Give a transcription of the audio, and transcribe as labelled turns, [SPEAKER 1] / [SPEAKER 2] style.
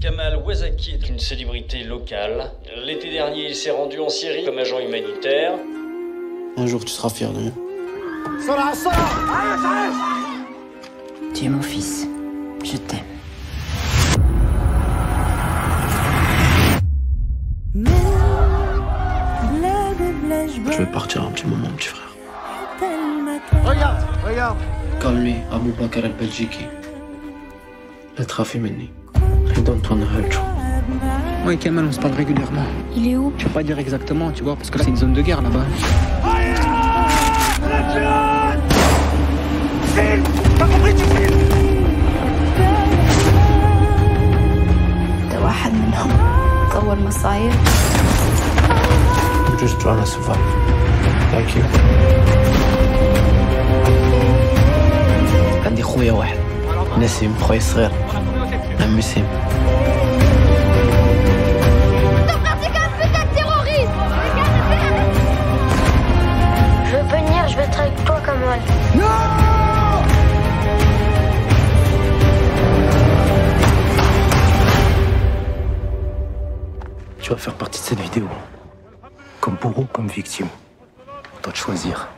[SPEAKER 1] Kamal Wazaki est une célébrité locale. L'été dernier, il s'est rendu en Syrie comme agent humanitaire.
[SPEAKER 2] Un jour, tu seras fier de moi.
[SPEAKER 3] Tu es mon fils. Je t'aime.
[SPEAKER 2] Je vais partir un petit moment, petit frère.
[SPEAKER 4] Regarde, regarde.
[SPEAKER 2] Comme lui, Abu Bakr al-Belgiki. Le trafic meni. Je donne ton argent.
[SPEAKER 5] Moi et Kamal, on se parle régulièrement.
[SPEAKER 3] Il est où
[SPEAKER 5] Je peux pas dire exactement, tu vois, parce que là, c'est une zone de guerre là-bas.
[SPEAKER 3] T'as واحد منهم طول مصايب
[SPEAKER 2] Juste trying to survive. Thank you. عندي خويا واحد نسيم خويا صغير عمي سيم
[SPEAKER 6] Je veux venir, je vais être avec toi, Kamal.
[SPEAKER 2] Tu vas faire partie de cette vidéo. Comme bourreau, comme victime. Toi de choisir.